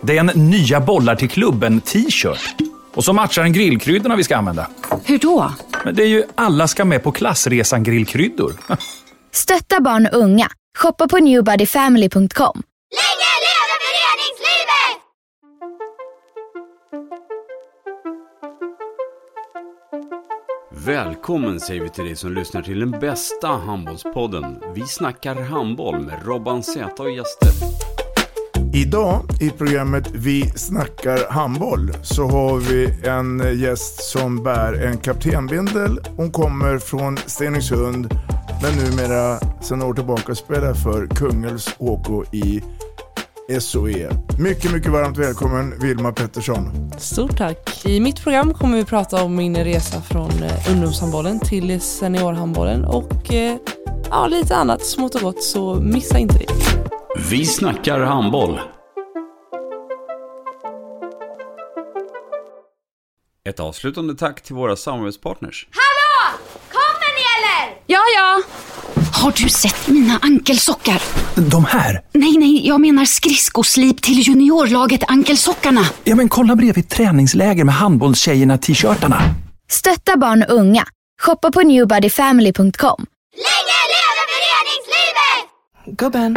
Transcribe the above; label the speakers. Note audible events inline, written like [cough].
Speaker 1: Det är en nya bollar till klubben-t-shirt. Och så matchar den grillkryddorna vi ska använda.
Speaker 2: Hur då?
Speaker 1: Men det är ju alla ska med på klassresan grillkryddor. [laughs]
Speaker 3: Stötta barn och unga. Shoppa på newbodyfamily.com.
Speaker 4: Länge leve föreningslivet!
Speaker 5: Välkommen säger vi till dig som lyssnar till den bästa handbollspodden. Vi snackar handboll med Robban Z och gäster.
Speaker 6: Idag i programmet Vi snackar handboll så har vi en gäst som bär en kaptenbindel. Hon kommer från Stenungsund men numera sedan år tillbaka spelar för Kungälvs HK i SOE. Mycket, mycket varmt välkommen Vilma Pettersson.
Speaker 7: Stort tack. I mitt program kommer vi prata om min resa från eh, ungdomshandbollen till seniorhandbollen och eh, ja, lite annat smått och gott, så missa inte det.
Speaker 5: Vi snackar handboll. Ett avslutande tack till våra samarbetspartners.
Speaker 4: Hallå! Kommer ni eller?
Speaker 2: Ja, ja. Har du sett mina ankelsockar?
Speaker 1: De här?
Speaker 2: Nej, nej, jag menar skridskoslip till juniorlaget Ankelsockarna.
Speaker 1: Ja, men kolla bredvid träningsläger med handbollstjejerna-t-shirtarna.
Speaker 3: Stötta barn och unga. Shoppa på newbodyfamily.com.
Speaker 4: Länge leve föreningslivet!
Speaker 8: Gubben,